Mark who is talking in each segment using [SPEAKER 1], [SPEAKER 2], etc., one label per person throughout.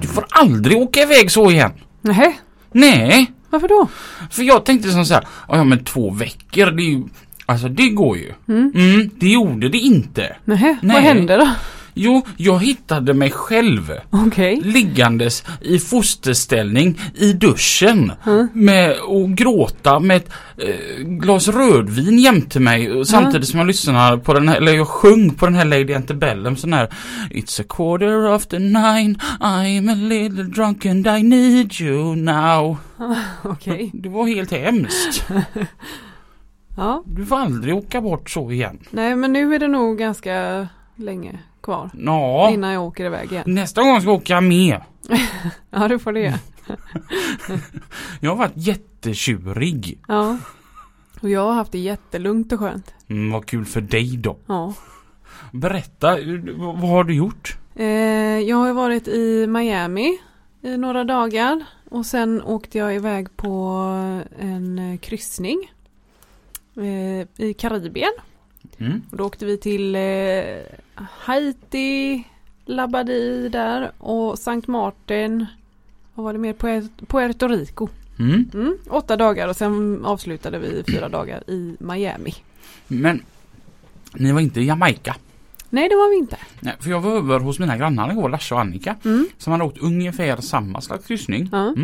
[SPEAKER 1] Du får aldrig åka iväg så igen.
[SPEAKER 2] Nej,
[SPEAKER 1] Nej,
[SPEAKER 2] varför då?
[SPEAKER 1] för jag tänkte som så här, "Ah, ja men två veckor, det är ju, alltså det går ju. Mm. det gjorde det inte.
[SPEAKER 2] Nej, vad
[SPEAKER 1] Nej.
[SPEAKER 2] hände då?
[SPEAKER 1] Jo, jag hittade mig själv
[SPEAKER 2] Okej.
[SPEAKER 1] liggandes i fosterställning i duschen med och gråta med ett eh, glas rödvin jämte mig och samtidigt som jag lyssnade på den här, eller jag sjöng på den här Lady Antebellum sån här It's a quarter after nine, I'm a little drunk and I need you now.
[SPEAKER 2] Okej.
[SPEAKER 1] Det var helt hemskt.
[SPEAKER 2] Ja,
[SPEAKER 1] Du får aldrig åka bort så igen.
[SPEAKER 2] nej men nu är det nog ganska länge kvar
[SPEAKER 1] Ja.
[SPEAKER 2] innan jag åker iväg igen.
[SPEAKER 1] Nästa gång ska jag åka med.
[SPEAKER 2] Ja, du får det.
[SPEAKER 1] Jag har varit jättetjurig.
[SPEAKER 2] Ja. Och jag har haft det jättelugnt och skönt.
[SPEAKER 1] Mm, vad kul för dig då.
[SPEAKER 2] Ja.
[SPEAKER 1] Berätta, eh, vad har du gjort?
[SPEAKER 2] Eh, jag har ju varit i Miami i några dagar och sen åkte jag iväg på en eh, kryssning eh, i Karibien.
[SPEAKER 1] Mm.
[SPEAKER 2] Och då åkte vi till eh, Haiti, Labadi där och St. Martin. Vad var det mer? Puer- Puerto Rico.
[SPEAKER 1] Mm.
[SPEAKER 2] Mm, åtta dagar och sen avslutade vi fyra dagar i Miami.
[SPEAKER 1] Men ni var inte i Jamaica?
[SPEAKER 2] Nej, det var vi inte.
[SPEAKER 1] Nej, för jag var över hos mina grannar igår, Lasse och Annika,
[SPEAKER 2] Mm,
[SPEAKER 1] som hade åkt ungefär samma slags kryssning.
[SPEAKER 2] ja,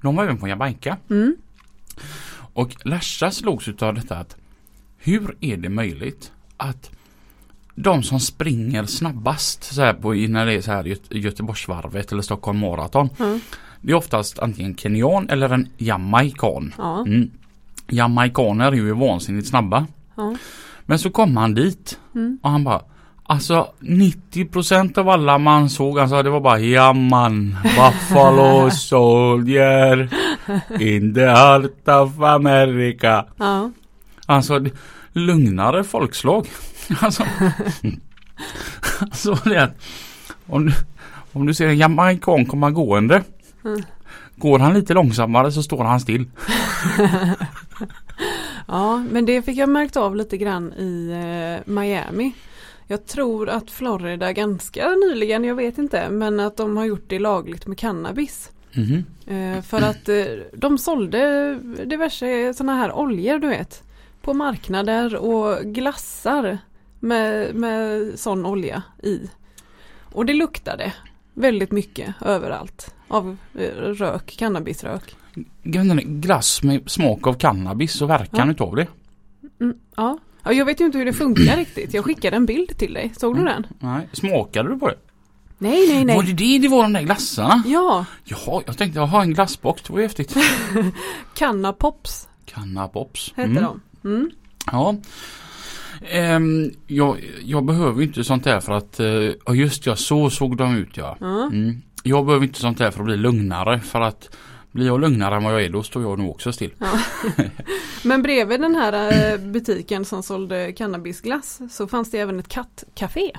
[SPEAKER 1] De var även på Jamaica.
[SPEAKER 2] mm,
[SPEAKER 1] Och Larsa slogs utav detta att hur är det möjligt att de som springer snabbast så här på, när det är så här Göte- Göteborgsvarvet eller Stockholm Marathon.
[SPEAKER 2] Mm.
[SPEAKER 1] Det är oftast antingen kenyan eller en jamaikan.
[SPEAKER 2] ja,
[SPEAKER 1] Mm. Jamaikaner är ju vansinnigt snabba.
[SPEAKER 2] ja,
[SPEAKER 1] Men så kom han dit
[SPEAKER 2] Mm.
[SPEAKER 1] och han bara Alltså 90% av alla man såg han sa det var bara ja man Buffalo soldier In the heart of America
[SPEAKER 2] ja,
[SPEAKER 1] Alltså det- lugnare folkslag Alltså, alltså det är att om, du- om du ser en jamaican komma gående
[SPEAKER 2] Mm.
[SPEAKER 1] Går han lite långsammare så står han still
[SPEAKER 2] ja, men det fick jag märkt av lite grann i eh, Miami. Jag tror att Florida ganska nyligen, jag vet inte, men att de har gjort det lagligt med cannabis.
[SPEAKER 1] Mhm.
[SPEAKER 2] Eh, För att eh, de sålde diverse sådana här oljor du vet. På marknader och glassar med, med sån olja i. Och det luktade väldigt mycket överallt. Av eh, rök, cannabisrök.
[SPEAKER 1] Jag vet inte, Glass med smak av cannabis och verkan
[SPEAKER 2] Ja.
[SPEAKER 1] utav det
[SPEAKER 2] Mm, ja. ja, jag vet ju inte hur det funkar riktigt. Jag skickade en bild till dig. Såg du den?
[SPEAKER 1] Nej, smakade du på det?
[SPEAKER 2] Mm. Nej, nej,
[SPEAKER 1] Var
[SPEAKER 2] nej.
[SPEAKER 1] det det det var de där glassarna?
[SPEAKER 2] Ja,
[SPEAKER 1] Jaha, jag tänkte jag har en glassbox, det var ju häftigt.
[SPEAKER 2] Cannapops
[SPEAKER 1] Cannapops.
[SPEAKER 2] hette de. Mm.
[SPEAKER 1] Ja. Ehm, jag, jag behöver ju inte sånt där för att, eh, ja just ja, så såg de ut ja.
[SPEAKER 2] Ja.
[SPEAKER 1] Mm. Jag behöver inte sånt där för att bli lugnare för att blir jag lugnare än vad jag är då står jag nog också still.
[SPEAKER 2] Men bredvid den här eh, butiken som sålde cannabisglass så fanns det även ett kattcafé.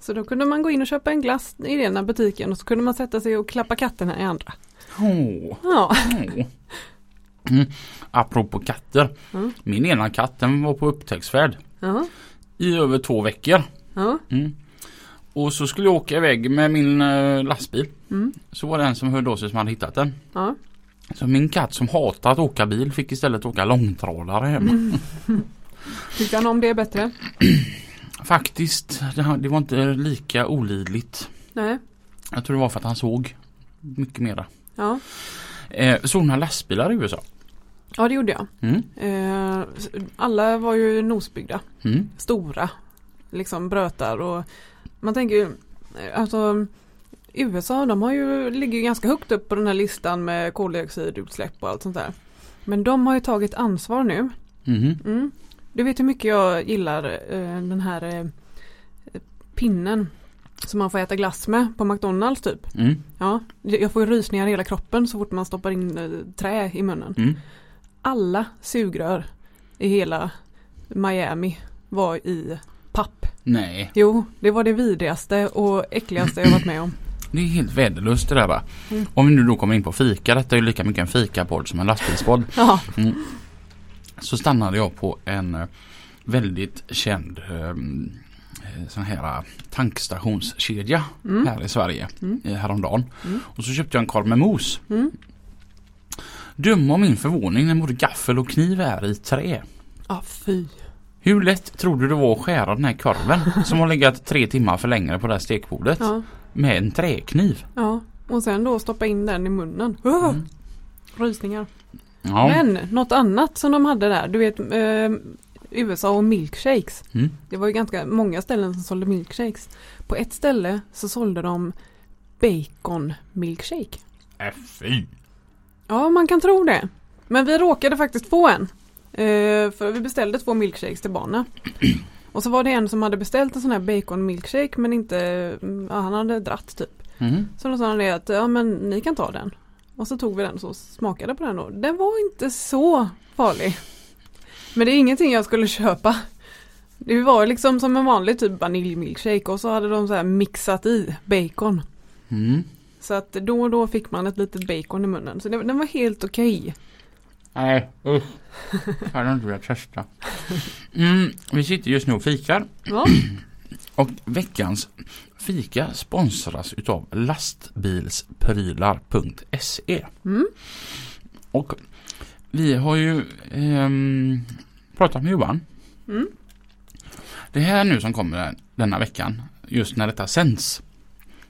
[SPEAKER 2] Så då kunde man gå in och köpa en glass i den här butiken och så kunde man sätta sig och klappa katterna i andra.
[SPEAKER 1] Åh,
[SPEAKER 2] Ja,
[SPEAKER 1] åh. Mm. Apropå katter.
[SPEAKER 2] Mm.
[SPEAKER 1] Min ena katt den var på upptäcktsfärd
[SPEAKER 2] ja,
[SPEAKER 1] i över två veckor.
[SPEAKER 2] ja,
[SPEAKER 1] Mm. Och så skulle jag åka iväg med min eh, lastbil.
[SPEAKER 2] mm,
[SPEAKER 1] Så var det en som hörde av sig som hade hittat den.
[SPEAKER 2] ja.
[SPEAKER 1] Så min katt som hatar att åka bil fick istället åka långtradare hem.
[SPEAKER 2] Mm. Tyckte han om det bättre?
[SPEAKER 1] Faktiskt, det, här- det var inte lika olidligt.
[SPEAKER 2] Nej,
[SPEAKER 1] Jag tror det var för att han såg mycket mera.
[SPEAKER 2] ja,
[SPEAKER 1] Eh, såg några lastbilar i USA?
[SPEAKER 2] ja det gjorde jag.
[SPEAKER 1] Mm.
[SPEAKER 2] Eh, alla var ju nosbyggda,
[SPEAKER 1] Mm.
[SPEAKER 2] stora, liksom brötar och man tänker ju, eh, alltså USA de har ju, ligger ju ganska högt upp på den här listan med koldioxidutsläpp och allt sånt där. Men de har ju tagit ansvar nu.
[SPEAKER 1] Mhm.
[SPEAKER 2] Mm. Du vet hur mycket jag gillar eh, den här eh, pinnen som man får äta glass med på McDonalds typ.
[SPEAKER 1] Mm.
[SPEAKER 2] Ja, jag får ju rysningar i hela kroppen så fort man stoppar in eh, trä i munnen.
[SPEAKER 1] Mm.
[SPEAKER 2] Alla sugrör i hela Miami var i papp.
[SPEAKER 1] Nej,
[SPEAKER 2] Jo, det var det vidrigaste och äckligaste jag varit med om.
[SPEAKER 1] det är helt värdelöst det där va.
[SPEAKER 2] Mm.
[SPEAKER 1] Om vi nu då kommer in på fika, detta är ju lika mycket en fikapodd som en lastbilspodd.
[SPEAKER 2] Ja,
[SPEAKER 1] Så stannade jag på en eh, väldigt känd eh, eh, sån här eh, tankstationskedja
[SPEAKER 2] Mm.
[SPEAKER 1] här i Sverige
[SPEAKER 2] Mm.
[SPEAKER 1] eh, häromdagen.
[SPEAKER 2] Mm.
[SPEAKER 1] Och så köpte jag en korv med mos.
[SPEAKER 2] Mm.
[SPEAKER 1] Döm om min förvåning när både gaffel och kniv är i trä.
[SPEAKER 2] ah, fy.
[SPEAKER 1] Hur lätt tror du det var att skära den här korven som har legat tre timmar för länge på det här stekbordet
[SPEAKER 2] Ja,
[SPEAKER 1] med en träkniv?
[SPEAKER 2] ja. Och sen då stoppa in den i munnen. Oh,
[SPEAKER 1] Mm.
[SPEAKER 2] Rysningar.
[SPEAKER 1] Ja.
[SPEAKER 2] Men något annat som de hade där, du vet eh, USA och milkshakes.
[SPEAKER 1] Mm.
[SPEAKER 2] Det var ju ganska många ställen som sålde milkshakes. På ett ställe så sålde de bacon milkshake.
[SPEAKER 1] Äh, fy.
[SPEAKER 2] Ja, man kan tro det. Men vi råkade faktiskt få en. Eh, för vi beställde två milkshakes till barnen. Och så var det en som hade beställt en sån här bacon milkshake men inte, mm, ja, han hade dratt typ.
[SPEAKER 1] Mm.
[SPEAKER 2] Så då sa han det att, ja men ni kan ta den. Och så tog vi den och så smakade på den och den var inte så farlig. Men det är ingenting jag skulle köpa. Det var liksom som en vanlig typ vaniljmilkshake och så hade de så här mixat i bacon.
[SPEAKER 1] Mm.
[SPEAKER 2] Så att då och då fick man ett litet bacon i munnen. Så det, den var helt okej.
[SPEAKER 1] Nej, usch. Jag hade inte velat testa. Mm, vi sitter just nu och fikar
[SPEAKER 2] Ja,
[SPEAKER 1] och veckans fika sponsras utav lastbilsprylar.se
[SPEAKER 2] Mm.
[SPEAKER 1] E. Och vi har ju ehm, pratat med Johan.
[SPEAKER 2] Mm.
[SPEAKER 1] Det här nu som kommer den- denna veckan, just när detta sänds,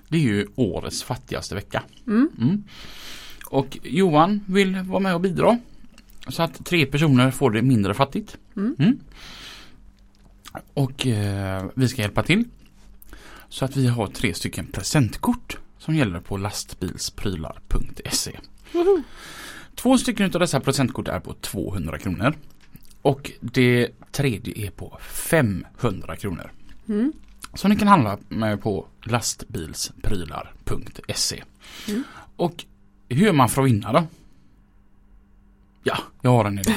[SPEAKER 1] det är ju årets fattigaste vecka.
[SPEAKER 2] Mm.
[SPEAKER 1] Mm. Och Johan vill vara med och bidra. Så att tre personer får det mindre fattigt.
[SPEAKER 2] Mm.
[SPEAKER 1] Och eh, vi ska hjälpa till. Så att vi har tre stycken presentkort som gäller på lastbilsprylar.se.
[SPEAKER 2] Woho.
[SPEAKER 1] E. Två stycken utav dessa presentkort är på 200 kronor. Och det tredje är på 500 kronor.
[SPEAKER 2] Mm.
[SPEAKER 1] Som ni kan handla med på lastbilsprylar.se.
[SPEAKER 2] Mm.
[SPEAKER 1] E. Och hur gör man för att vinna då? Ja, jag har en idé.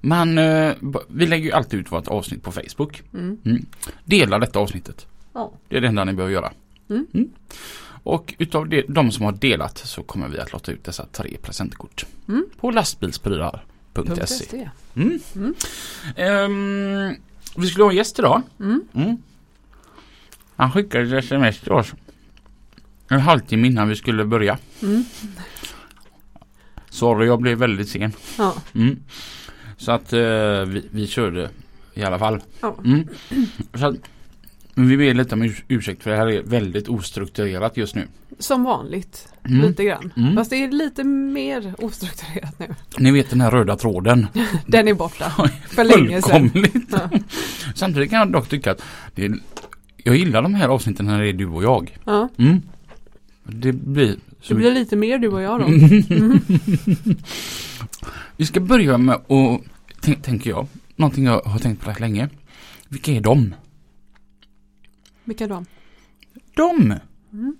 [SPEAKER 1] man, eh, b- vi lägger ju alltid ut vårt avsnitt på Facebook.
[SPEAKER 2] Mm.
[SPEAKER 1] Dela detta avsnittet.
[SPEAKER 2] Ja.
[SPEAKER 1] Det är det enda ni behöver göra.
[SPEAKER 2] Mm.
[SPEAKER 1] Och utav de, de som har delat så kommer vi att låta ut dessa tre presentkort.
[SPEAKER 2] Mm.
[SPEAKER 1] På lastbilsprylar.se.
[SPEAKER 2] .se.
[SPEAKER 1] Mm.
[SPEAKER 2] Mm.
[SPEAKER 1] Ehm, vi skulle ha en gäst idag.
[SPEAKER 2] Mm.
[SPEAKER 1] Mm. Han skickade ett sms till oss. En halvtimme innan vi skulle börja.
[SPEAKER 2] Mm.
[SPEAKER 1] Sorry, jag blev väldigt sen.
[SPEAKER 2] Ja.
[SPEAKER 1] Mm. Så att eh, vi, vi körde i alla fall.
[SPEAKER 2] Ja.
[SPEAKER 1] Mm. Så att, men vi ber lite om urs- ursäkt för det här är väldigt ostrukturerat just nu.
[SPEAKER 2] Som vanligt,
[SPEAKER 1] Mm.
[SPEAKER 2] lite grann.
[SPEAKER 1] Mm.
[SPEAKER 2] Fast det är lite mer ostrukturerat nu.
[SPEAKER 1] Ni vet den här röda tråden.
[SPEAKER 2] Den är borta.
[SPEAKER 1] Oj,
[SPEAKER 2] För länge sedan.
[SPEAKER 1] Fullkomligt.
[SPEAKER 2] Ja.
[SPEAKER 1] Samtidigt kan jag dock tycka att det är, jag gillar de här avsnitten när det är du och jag.
[SPEAKER 2] Ja.
[SPEAKER 1] Mm. Det blir så
[SPEAKER 2] Det blir lite mer du och jag då.
[SPEAKER 1] Mm. Vi ska börja med att, tän- tänker jag, någonting jag har tänkt på rätt länge. Vilka är de?
[SPEAKER 2] Vilka då?
[SPEAKER 1] De!
[SPEAKER 2] Mm.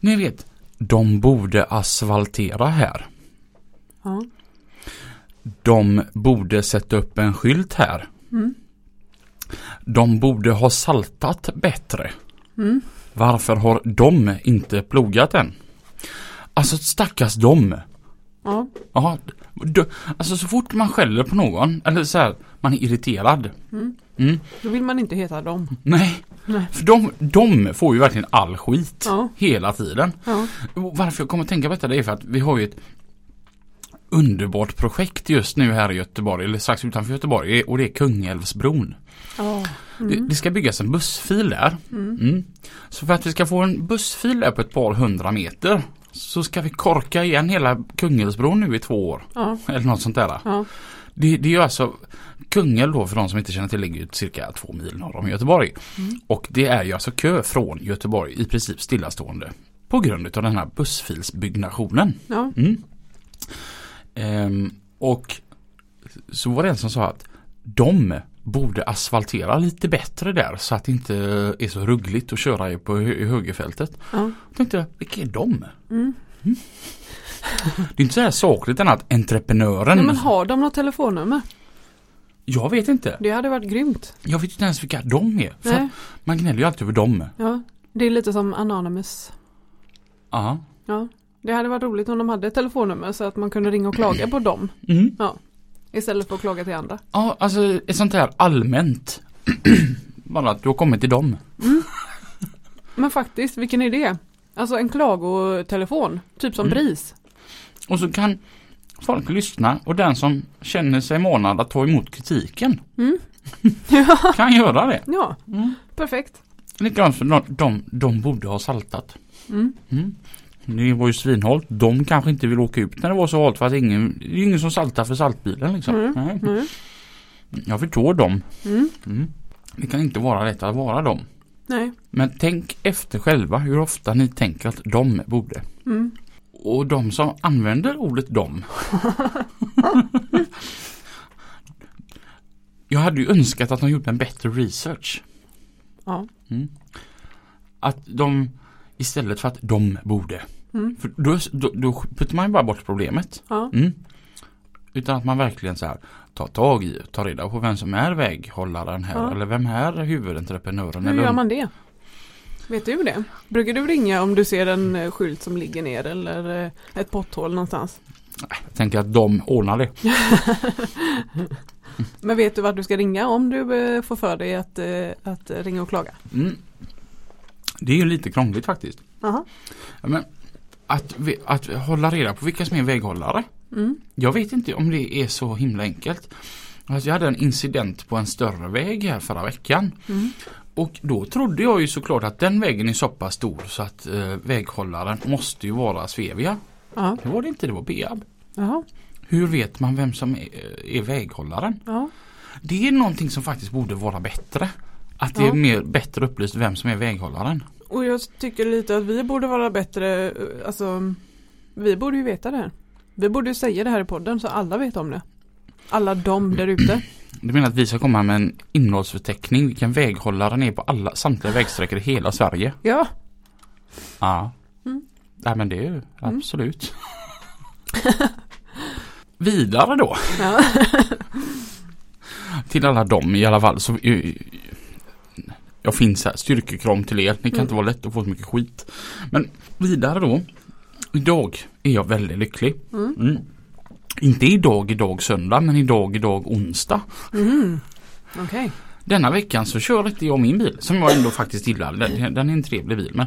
[SPEAKER 1] Ni vet, de borde asfaltera här.
[SPEAKER 2] Ja.
[SPEAKER 1] De borde sätta upp en skylt här.
[SPEAKER 2] Mm.
[SPEAKER 1] De borde ha saltat bättre.
[SPEAKER 2] Mm.
[SPEAKER 1] Varför har de inte plogat än? Alltså stackars dem.
[SPEAKER 2] Ja.
[SPEAKER 1] Jaha, d- alltså så fort man skäller på någon, eller så här, man är irriterad.
[SPEAKER 2] Mm.
[SPEAKER 1] Mm.
[SPEAKER 2] Då vill man inte heta dem.
[SPEAKER 1] Nej,
[SPEAKER 2] Nej.
[SPEAKER 1] för de, de får ju verkligen all skit.
[SPEAKER 2] Ja.
[SPEAKER 1] Hela tiden.
[SPEAKER 2] Ja.
[SPEAKER 1] Och Varför jag kommer att tänka på detta det är för att vi har ju ett underbart projekt just nu här i Göteborg, eller strax utanför Göteborg, och det är Kungälvsbron.
[SPEAKER 2] Ja.
[SPEAKER 1] Det, det ska byggas en bussfil där.
[SPEAKER 2] Mm.
[SPEAKER 1] Mm. Så för att vi ska få en bussfil där på ett par hundra meter så ska vi korka igen hela Kungälvsbron nu i två år.
[SPEAKER 2] Ja.
[SPEAKER 1] Eller något sånt där.
[SPEAKER 2] Ja.
[SPEAKER 1] Det, det är ju alltså Kungälv då för de som inte känner till ligger ju cirka två mil norr om Göteborg.
[SPEAKER 2] Mm.
[SPEAKER 1] Och det är ju alltså kö från Göteborg i princip stillastående på grund av den här bussfilsbyggnationen.
[SPEAKER 2] Ja.
[SPEAKER 1] Mm. Ehm, och så var det en som sa att de borde asfaltera lite bättre där så att det inte är så ruggligt att köra i, på, hö- i högerfältet.
[SPEAKER 2] Ja.
[SPEAKER 1] Då tänkte jag, vilka är de?
[SPEAKER 2] Mm.
[SPEAKER 1] Det är inte så här sakligt än att entreprenören.
[SPEAKER 2] Nej, men har de något telefonnummer?
[SPEAKER 1] Jag vet inte.
[SPEAKER 2] Det hade varit grymt.
[SPEAKER 1] Jag vet inte ens vilka de är. För
[SPEAKER 2] Nej,
[SPEAKER 1] att man gnäller ju alltid över dem.
[SPEAKER 2] ja. Det är lite som Anonymous.
[SPEAKER 1] Ja.
[SPEAKER 2] Ja. Det hade varit roligt om de hade ett telefonnummer så att man kunde ringa och klaga på dem
[SPEAKER 1] Mm.
[SPEAKER 2] istället för att klaga till andra.
[SPEAKER 1] Ja, alltså ett sånt här allmänt. Bara att du har kommit till dem.
[SPEAKER 2] Men faktiskt, vilken idé? Alltså en klagotelefon, typ som
[SPEAKER 1] Mm.
[SPEAKER 2] BRIS.
[SPEAKER 1] Och så kan folk lyssna och den som känner sig månad att ta emot kritiken
[SPEAKER 2] Mm. ja.
[SPEAKER 1] kan göra det.
[SPEAKER 2] ja, perfekt.
[SPEAKER 1] Likadant som de, de, de borde ha saltat.
[SPEAKER 2] Mm.
[SPEAKER 1] Mm. Det var ju svinhalt. De kanske inte vill åka ut när det var så halt för att ingen, det är ju ingen som saltar för saltbilen liksom.
[SPEAKER 2] Mm.
[SPEAKER 1] Nej.
[SPEAKER 2] Mm.
[SPEAKER 1] Jag förstår dem.
[SPEAKER 2] Mm.
[SPEAKER 1] Mm. Det kan inte vara rätt att vara dem.
[SPEAKER 2] Nej.
[SPEAKER 1] Men tänk efter själva hur ofta ni tänker att de borde.
[SPEAKER 2] Mm.
[SPEAKER 1] Och de som använder ordet de. Jag hade ju önskat att de gjort en bättre research.
[SPEAKER 2] Ja.
[SPEAKER 1] Mm. Att de istället för att de borde.
[SPEAKER 2] Mm.
[SPEAKER 1] För då, då, då puttar man ju bara bort problemet.
[SPEAKER 2] Ja.
[SPEAKER 1] Mm. Utan att man verkligen så här tar tag i, tar reda på vem som är väghållaren här
[SPEAKER 2] Ja.
[SPEAKER 1] eller vem är huvudentreprenören.
[SPEAKER 2] Hur
[SPEAKER 1] eller
[SPEAKER 2] gör man det? Vet du det? Brukar du ringa om du ser en eh, skylt som ligger ner eller eh, ett potthål någonstans?
[SPEAKER 1] tänker att de ordnar det.
[SPEAKER 2] Men vet du vart du ska ringa om du eh, får för dig att, eh, att eh, ringa och klaga?
[SPEAKER 1] Mm. Det är ju lite krångligt faktiskt.
[SPEAKER 2] Aha.
[SPEAKER 1] Ja, Men att, vi- att hålla reda på vilka som är väghållare.
[SPEAKER 2] Mm.
[SPEAKER 1] Jag vet inte om det är så himla enkelt. Alltså jag hade en incident på en större väg här förra veckan.
[SPEAKER 2] Mm.
[SPEAKER 1] Och då trodde jag ju såklart att den vägen är så pass stor så att eh, väghållaren måste ju vara Svevia.
[SPEAKER 2] Ja.
[SPEAKER 1] Det var det inte, det var Peab.
[SPEAKER 2] Jaha.
[SPEAKER 1] Hur vet man vem som är, eh, är väghållaren?
[SPEAKER 2] Ja.
[SPEAKER 1] Det är någonting som faktiskt borde vara bättre. Att det
[SPEAKER 2] Ja.
[SPEAKER 1] är mer bättre upplyst vem som är väghållaren.
[SPEAKER 2] Och jag tycker lite att vi borde vara bättre, eh, alltså vi borde ju veta det här. Vi borde ju säga det här i podden så alla vet om det. Alla de där ute.
[SPEAKER 1] Du menar att vi ska komma med en innehållsförteckning vilken väghållaren är på alla, samtliga vägsträckor i hela Sverige?
[SPEAKER 2] Ja.
[SPEAKER 1] Ja.
[SPEAKER 2] Mm.
[SPEAKER 1] Nej men det är ju absolut. Vidare då
[SPEAKER 2] ja.
[SPEAKER 1] till alla dem i alla fall. Så, eh, jag finns här, styrkekram till er. Ni kan
[SPEAKER 2] Mm.
[SPEAKER 1] inte vara lätt att få så mycket skit. Men vidare då. Idag är jag väldigt lycklig.
[SPEAKER 2] Mm.
[SPEAKER 1] Mm. Inte idag, idag söndag, men idag, idag onsdag.
[SPEAKER 2] Mm. Okej.
[SPEAKER 1] Denna veckan så kör inte jag min bil som jag ändå faktiskt gillar. Den, den är en trevlig bil men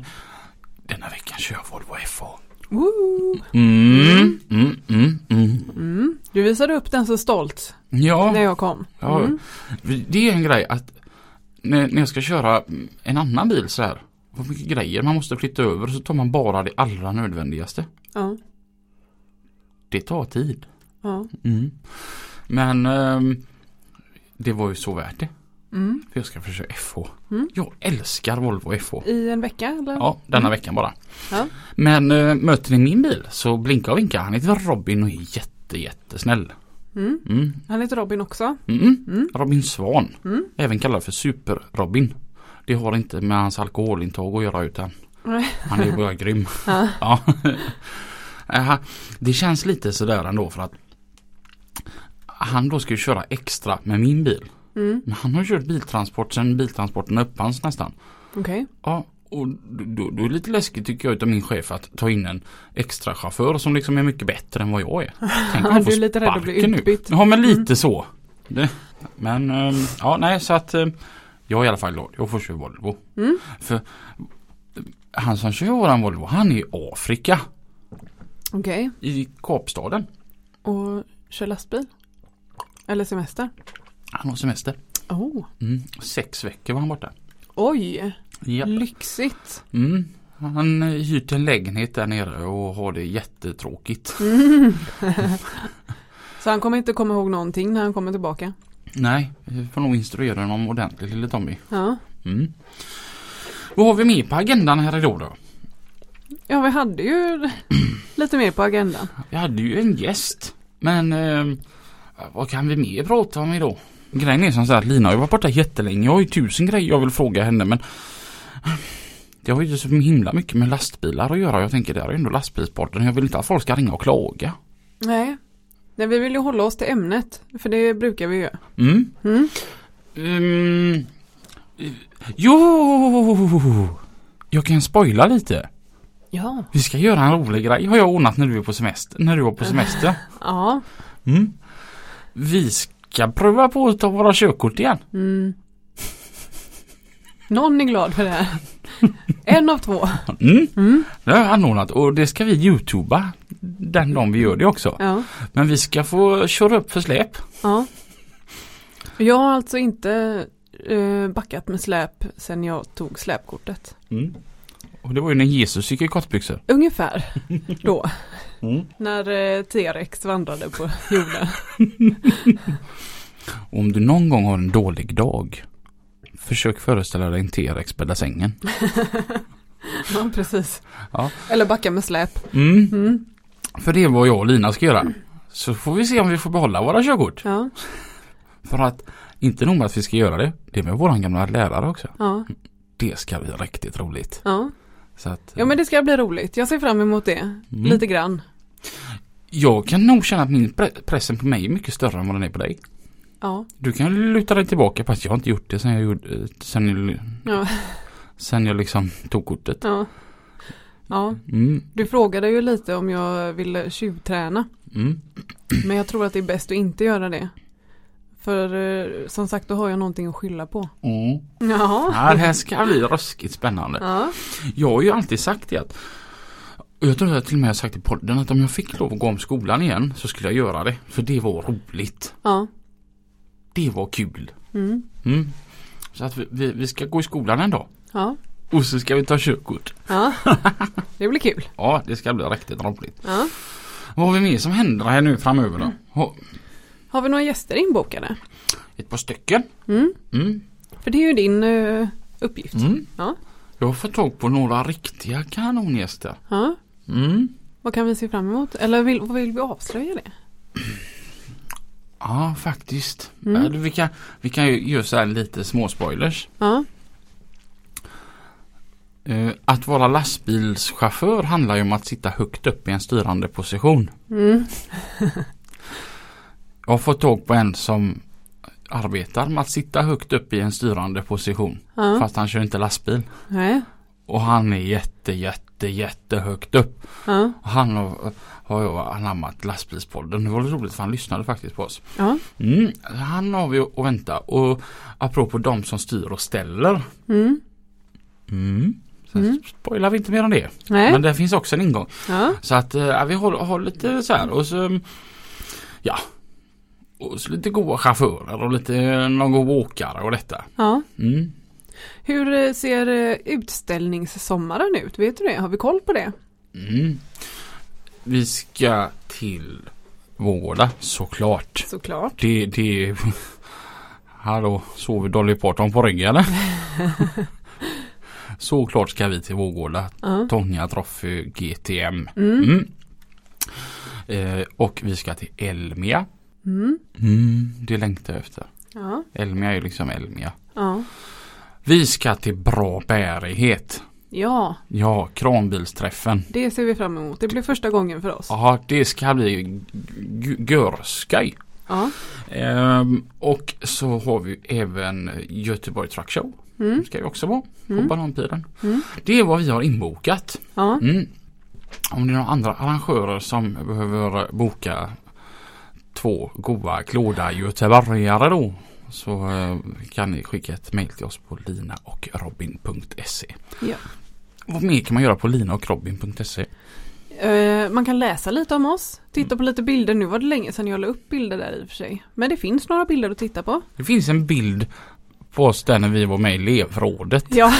[SPEAKER 1] denna veckan kör jag Volvo FH.
[SPEAKER 2] Woo.
[SPEAKER 1] Mm, mm, mm, mm.
[SPEAKER 2] Mm. Du visade upp den så stolt när
[SPEAKER 1] Ja,
[SPEAKER 2] jag kom.
[SPEAKER 1] ja,
[SPEAKER 2] Mm.
[SPEAKER 1] det är en grej att när, när jag ska köra en annan bil så här. Vad mycket grejer man måste flytta över så tar man bara det allra nödvändigaste.
[SPEAKER 2] Ja.
[SPEAKER 1] Det tar tid.
[SPEAKER 2] Ja.
[SPEAKER 1] Mm. Men ehm, det var ju så värt det.
[SPEAKER 2] Mm.
[SPEAKER 1] För jag ska försöka FH.
[SPEAKER 2] Mm.
[SPEAKER 1] Jag älskar Volvo FH.
[SPEAKER 2] I en vecka eller?
[SPEAKER 1] Ja, denna
[SPEAKER 2] Mm.
[SPEAKER 1] veckan bara.
[SPEAKER 2] Ja.
[SPEAKER 1] Men eh, möter ni min bil så blinkar och vinkar. Han heter Robin och är jätte, jättesnäll.
[SPEAKER 2] Mm.
[SPEAKER 1] Mm.
[SPEAKER 2] Han heter Robin också.
[SPEAKER 1] Mm.
[SPEAKER 2] Mm.
[SPEAKER 1] Robin Svan,
[SPEAKER 2] Mm.
[SPEAKER 1] även kallad för Super-Robin. Det har inte med hans alkoholintag att göra utan
[SPEAKER 2] Nej.
[SPEAKER 1] han är bara grym.
[SPEAKER 2] Ja.
[SPEAKER 1] Ja. Eh, det känns lite sådär ändå för att han då ska ju köra extra med min bil.
[SPEAKER 2] Mm.
[SPEAKER 1] Men han har ju kört biltransport sedan biltransporten uppfanns nästan.
[SPEAKER 2] Okej.
[SPEAKER 1] Ja, och då, då är det lite läskigt tycker jag utav min chef att ta in en extra chaufför som liksom är mycket bättre än vad jag är. Tänk om
[SPEAKER 2] Ja,
[SPEAKER 1] jag får
[SPEAKER 2] du är lite rädd att bli
[SPEAKER 1] sparken nu.
[SPEAKER 2] utbytt. Mm.
[SPEAKER 1] Ja men lite så. Det, men ehm, ja nej så att ehm, jag är i alla fall glad. Jag får köra Volvo.
[SPEAKER 2] Mm.
[SPEAKER 1] För eh, han som kör våran Volvo han är i Afrika.
[SPEAKER 2] Okej.
[SPEAKER 1] I Kapstaden.
[SPEAKER 2] Och kör lastbil? Eller semester?
[SPEAKER 1] Han har semester.
[SPEAKER 2] Oh.
[SPEAKER 1] Mm, sex veckor var han borta.
[SPEAKER 2] Oj,
[SPEAKER 1] Ja.
[SPEAKER 2] lyxigt.
[SPEAKER 1] Mm. Han eh, hyrt en lägenhet där nere och har det jättetråkigt.
[SPEAKER 2] Mm. Så han kommer inte komma ihåg någonting när han kommer tillbaka.
[SPEAKER 1] Nej, vi får nog instruera honom ordentligt lille Tommy.
[SPEAKER 2] Ja,
[SPEAKER 1] Mm. Vad har vi mer på agendan här idag då?
[SPEAKER 2] ja vi hade ju lite mer på agendan.
[SPEAKER 1] Vi hade ju en gäst. Men eh, vad kan vi mer prata om idag? Grejen är som så här att Lina har ju varit borta jättelänge. Jag har ju tusen grejer jag vill fråga henne men det har ju så himla mycket med lastbilar att göra. Jag tänker det här är ju ändå lastbilspodden. Jag vill inte att folk ska ringa och klaga.
[SPEAKER 2] Nej. Nej, vi vill ju hålla oss till ämnet. För det brukar vi göra.
[SPEAKER 1] Mm.
[SPEAKER 2] Mm.
[SPEAKER 1] Mm. Jo! Jag kan spoila lite.
[SPEAKER 2] Ja.
[SPEAKER 1] Vi ska göra en rolig grej har jag ordnat när du är på semester. När du var på semester.
[SPEAKER 2] Ja.
[SPEAKER 1] Mm. Vi ska prova på att ta våra körkort igen.
[SPEAKER 2] Mm. Någon är glad för det här. En av två.
[SPEAKER 1] Mm.
[SPEAKER 2] Mm.
[SPEAKER 1] Det har jag anordnat och det ska vi youtuba den dagen vi gör det också.
[SPEAKER 2] Ja.
[SPEAKER 1] Men vi ska få köra upp för släp.
[SPEAKER 2] ja. Jag har alltså inte eh, backat med släp sen jag tog släpkortet.
[SPEAKER 1] Mm. Och det var ju när Jesus gick i kortbyxor.
[SPEAKER 2] Ungefär då. När eh, T-rex vandrade på jorden.
[SPEAKER 1] Och om du någon gång har en dålig dag Försök föreställa dig en T-rex bädda sängen.
[SPEAKER 2] Ja, precis.
[SPEAKER 1] Ja.
[SPEAKER 2] Eller backa med släp.
[SPEAKER 1] Mm.
[SPEAKER 2] Mm.
[SPEAKER 1] För det är vad jag och Lina ska göra. Så får vi se om vi får behålla våra körkort.
[SPEAKER 2] Ja,
[SPEAKER 1] För att inte nog med att vi ska göra det. Det är med våran gamla lärare också.
[SPEAKER 2] ja,
[SPEAKER 1] Det ska bli riktigt roligt.
[SPEAKER 2] ja.
[SPEAKER 1] Så att,
[SPEAKER 2] Ja, men det ska bli roligt. Jag ser fram emot det.
[SPEAKER 1] Mm.
[SPEAKER 2] Lite grann.
[SPEAKER 1] Jag kan nog känna att min pre- pressen på mig är mycket större än vad den är på dig.
[SPEAKER 2] Ja,
[SPEAKER 1] Du kan ju luta dig tillbaka på att jag har inte gjort det sen jag gjorde, eh, sen jag,
[SPEAKER 2] ja,
[SPEAKER 1] sen jag liksom tog kortet.
[SPEAKER 2] ja. Ja,
[SPEAKER 1] Mm,
[SPEAKER 2] du frågade ju lite om jag ville tjuvträna.
[SPEAKER 1] mm,
[SPEAKER 2] Men jag tror att det är bäst att inte göra det. För eh, som sagt, då har jag någonting att skylla på.
[SPEAKER 1] mm.
[SPEAKER 2] Ja.
[SPEAKER 1] Ja, det här ska bli ruskigt spännande.
[SPEAKER 2] Ja.
[SPEAKER 1] Jag har ju alltid sagt det att och jag tror jag till och med har sagt i podden att om jag fick lov att gå om skolan igen så skulle jag göra det. För det var roligt.
[SPEAKER 2] Ja.
[SPEAKER 1] Det var kul.
[SPEAKER 2] Mm.
[SPEAKER 1] Mm. Så att vi, vi, vi ska gå i skolan en dag.
[SPEAKER 2] Ja.
[SPEAKER 1] Och så ska vi ta körkort.
[SPEAKER 2] Ja. Det blir kul.
[SPEAKER 1] Ja, det ska bli riktigt roligt.
[SPEAKER 2] Ja.
[SPEAKER 1] Vad har vi mer som händer här nu framöver då? Ha,
[SPEAKER 2] Har vi några gäster inbokade?
[SPEAKER 1] ett par stycken.
[SPEAKER 2] Mm.
[SPEAKER 1] Mm.
[SPEAKER 2] För det är ju din eh, uppgift.
[SPEAKER 1] Mm.
[SPEAKER 2] Ja.
[SPEAKER 1] Jag har fått tag på några riktiga kanongäster.
[SPEAKER 2] Ja.
[SPEAKER 1] Mm.
[SPEAKER 2] Vad kan vi se fram emot? Eller vill, vad vill vi avslöja det?
[SPEAKER 1] Ja, faktiskt.
[SPEAKER 2] Mm.
[SPEAKER 1] Eller Vi, kan, vi kan ju göra så här lite små spoilers.
[SPEAKER 2] Ja.
[SPEAKER 1] Eh, att vara lastbilschaufför handlar ju om att sitta högt upp i en styrande position.
[SPEAKER 2] Mm.
[SPEAKER 1] Jag har fått tag på en som arbetar med att sitta högt upp i en styrande position.
[SPEAKER 2] Ja.
[SPEAKER 1] Fast han kör inte lastbil.
[SPEAKER 2] Nej.
[SPEAKER 1] Och han är jätte, jätte, jättehögt upp.
[SPEAKER 2] Ja.
[SPEAKER 1] Han har, har ju anammat lastbilspodden. Det var lite roligt för han lyssnade faktiskt på oss.
[SPEAKER 2] Ja.
[SPEAKER 1] Mm, han har vi att vänta och apropå de som styr och ställer.
[SPEAKER 2] Mm.
[SPEAKER 1] Mm. Sen
[SPEAKER 2] Mm.
[SPEAKER 1] spoilar vi inte mer om det.
[SPEAKER 2] Nej.
[SPEAKER 1] Men det finns också en ingång.
[SPEAKER 2] Ja.
[SPEAKER 1] Så att eh, ja, vi håller, håller lite så här och så ja. Och så lite goa chaufförer och lite eh, någon god åkare och detta.
[SPEAKER 2] Ja.
[SPEAKER 1] Mm.
[SPEAKER 2] Hur eh, ser eh, utställningssommaren ut? Vet du det? Har vi koll på det?
[SPEAKER 1] Mm. Vi ska till Vårgårda såklart.
[SPEAKER 2] Såklart.
[SPEAKER 1] Det, det... Hallå, sover Dolly Parton på ryggen eller? Såklart ska vi till Vårgårda,
[SPEAKER 2] Ja.
[SPEAKER 1] Tonja Trophy GTM.
[SPEAKER 2] Mm.
[SPEAKER 1] Mm. Eh, och vi ska till Elmia.
[SPEAKER 2] Mm.
[SPEAKER 1] Mm, det längtar jag efter.
[SPEAKER 2] Ja.
[SPEAKER 1] Elmia är ju liksom Elmia.
[SPEAKER 2] Ja.
[SPEAKER 1] Vi ska till Bra bärighet.
[SPEAKER 2] Ja,
[SPEAKER 1] Ja, kranbilsträffen.
[SPEAKER 2] det ser vi fram emot. Det blir första gången för oss.
[SPEAKER 1] Ja, det ska bli g- g- görskoj.
[SPEAKER 2] Ja.
[SPEAKER 1] Ehm, och så har vi även Göteborg Truck Show.
[SPEAKER 2] Mm.
[SPEAKER 1] ska vi också vara på
[SPEAKER 2] Mm.
[SPEAKER 1] Bananpiren.
[SPEAKER 2] Mm.
[SPEAKER 1] Det är vad vi har inbokat.
[SPEAKER 2] Ja.
[SPEAKER 1] Mm. Om det är några andra arrangörer som behöver boka två goa glada göteborgare då så eh, kan ni skicka ett mejl till oss på linaochrobin.se
[SPEAKER 2] Ja.
[SPEAKER 1] Vad mer kan man göra på linaochrobin.se?
[SPEAKER 2] Eh, man kan läsa lite om oss, titta på lite bilder. Nu var det länge sedan jag la upp bilder där i och för sig. Men det finns några bilder att titta på.
[SPEAKER 1] Det finns en bild på oss där när vi var med i elevrådet
[SPEAKER 2] Ja,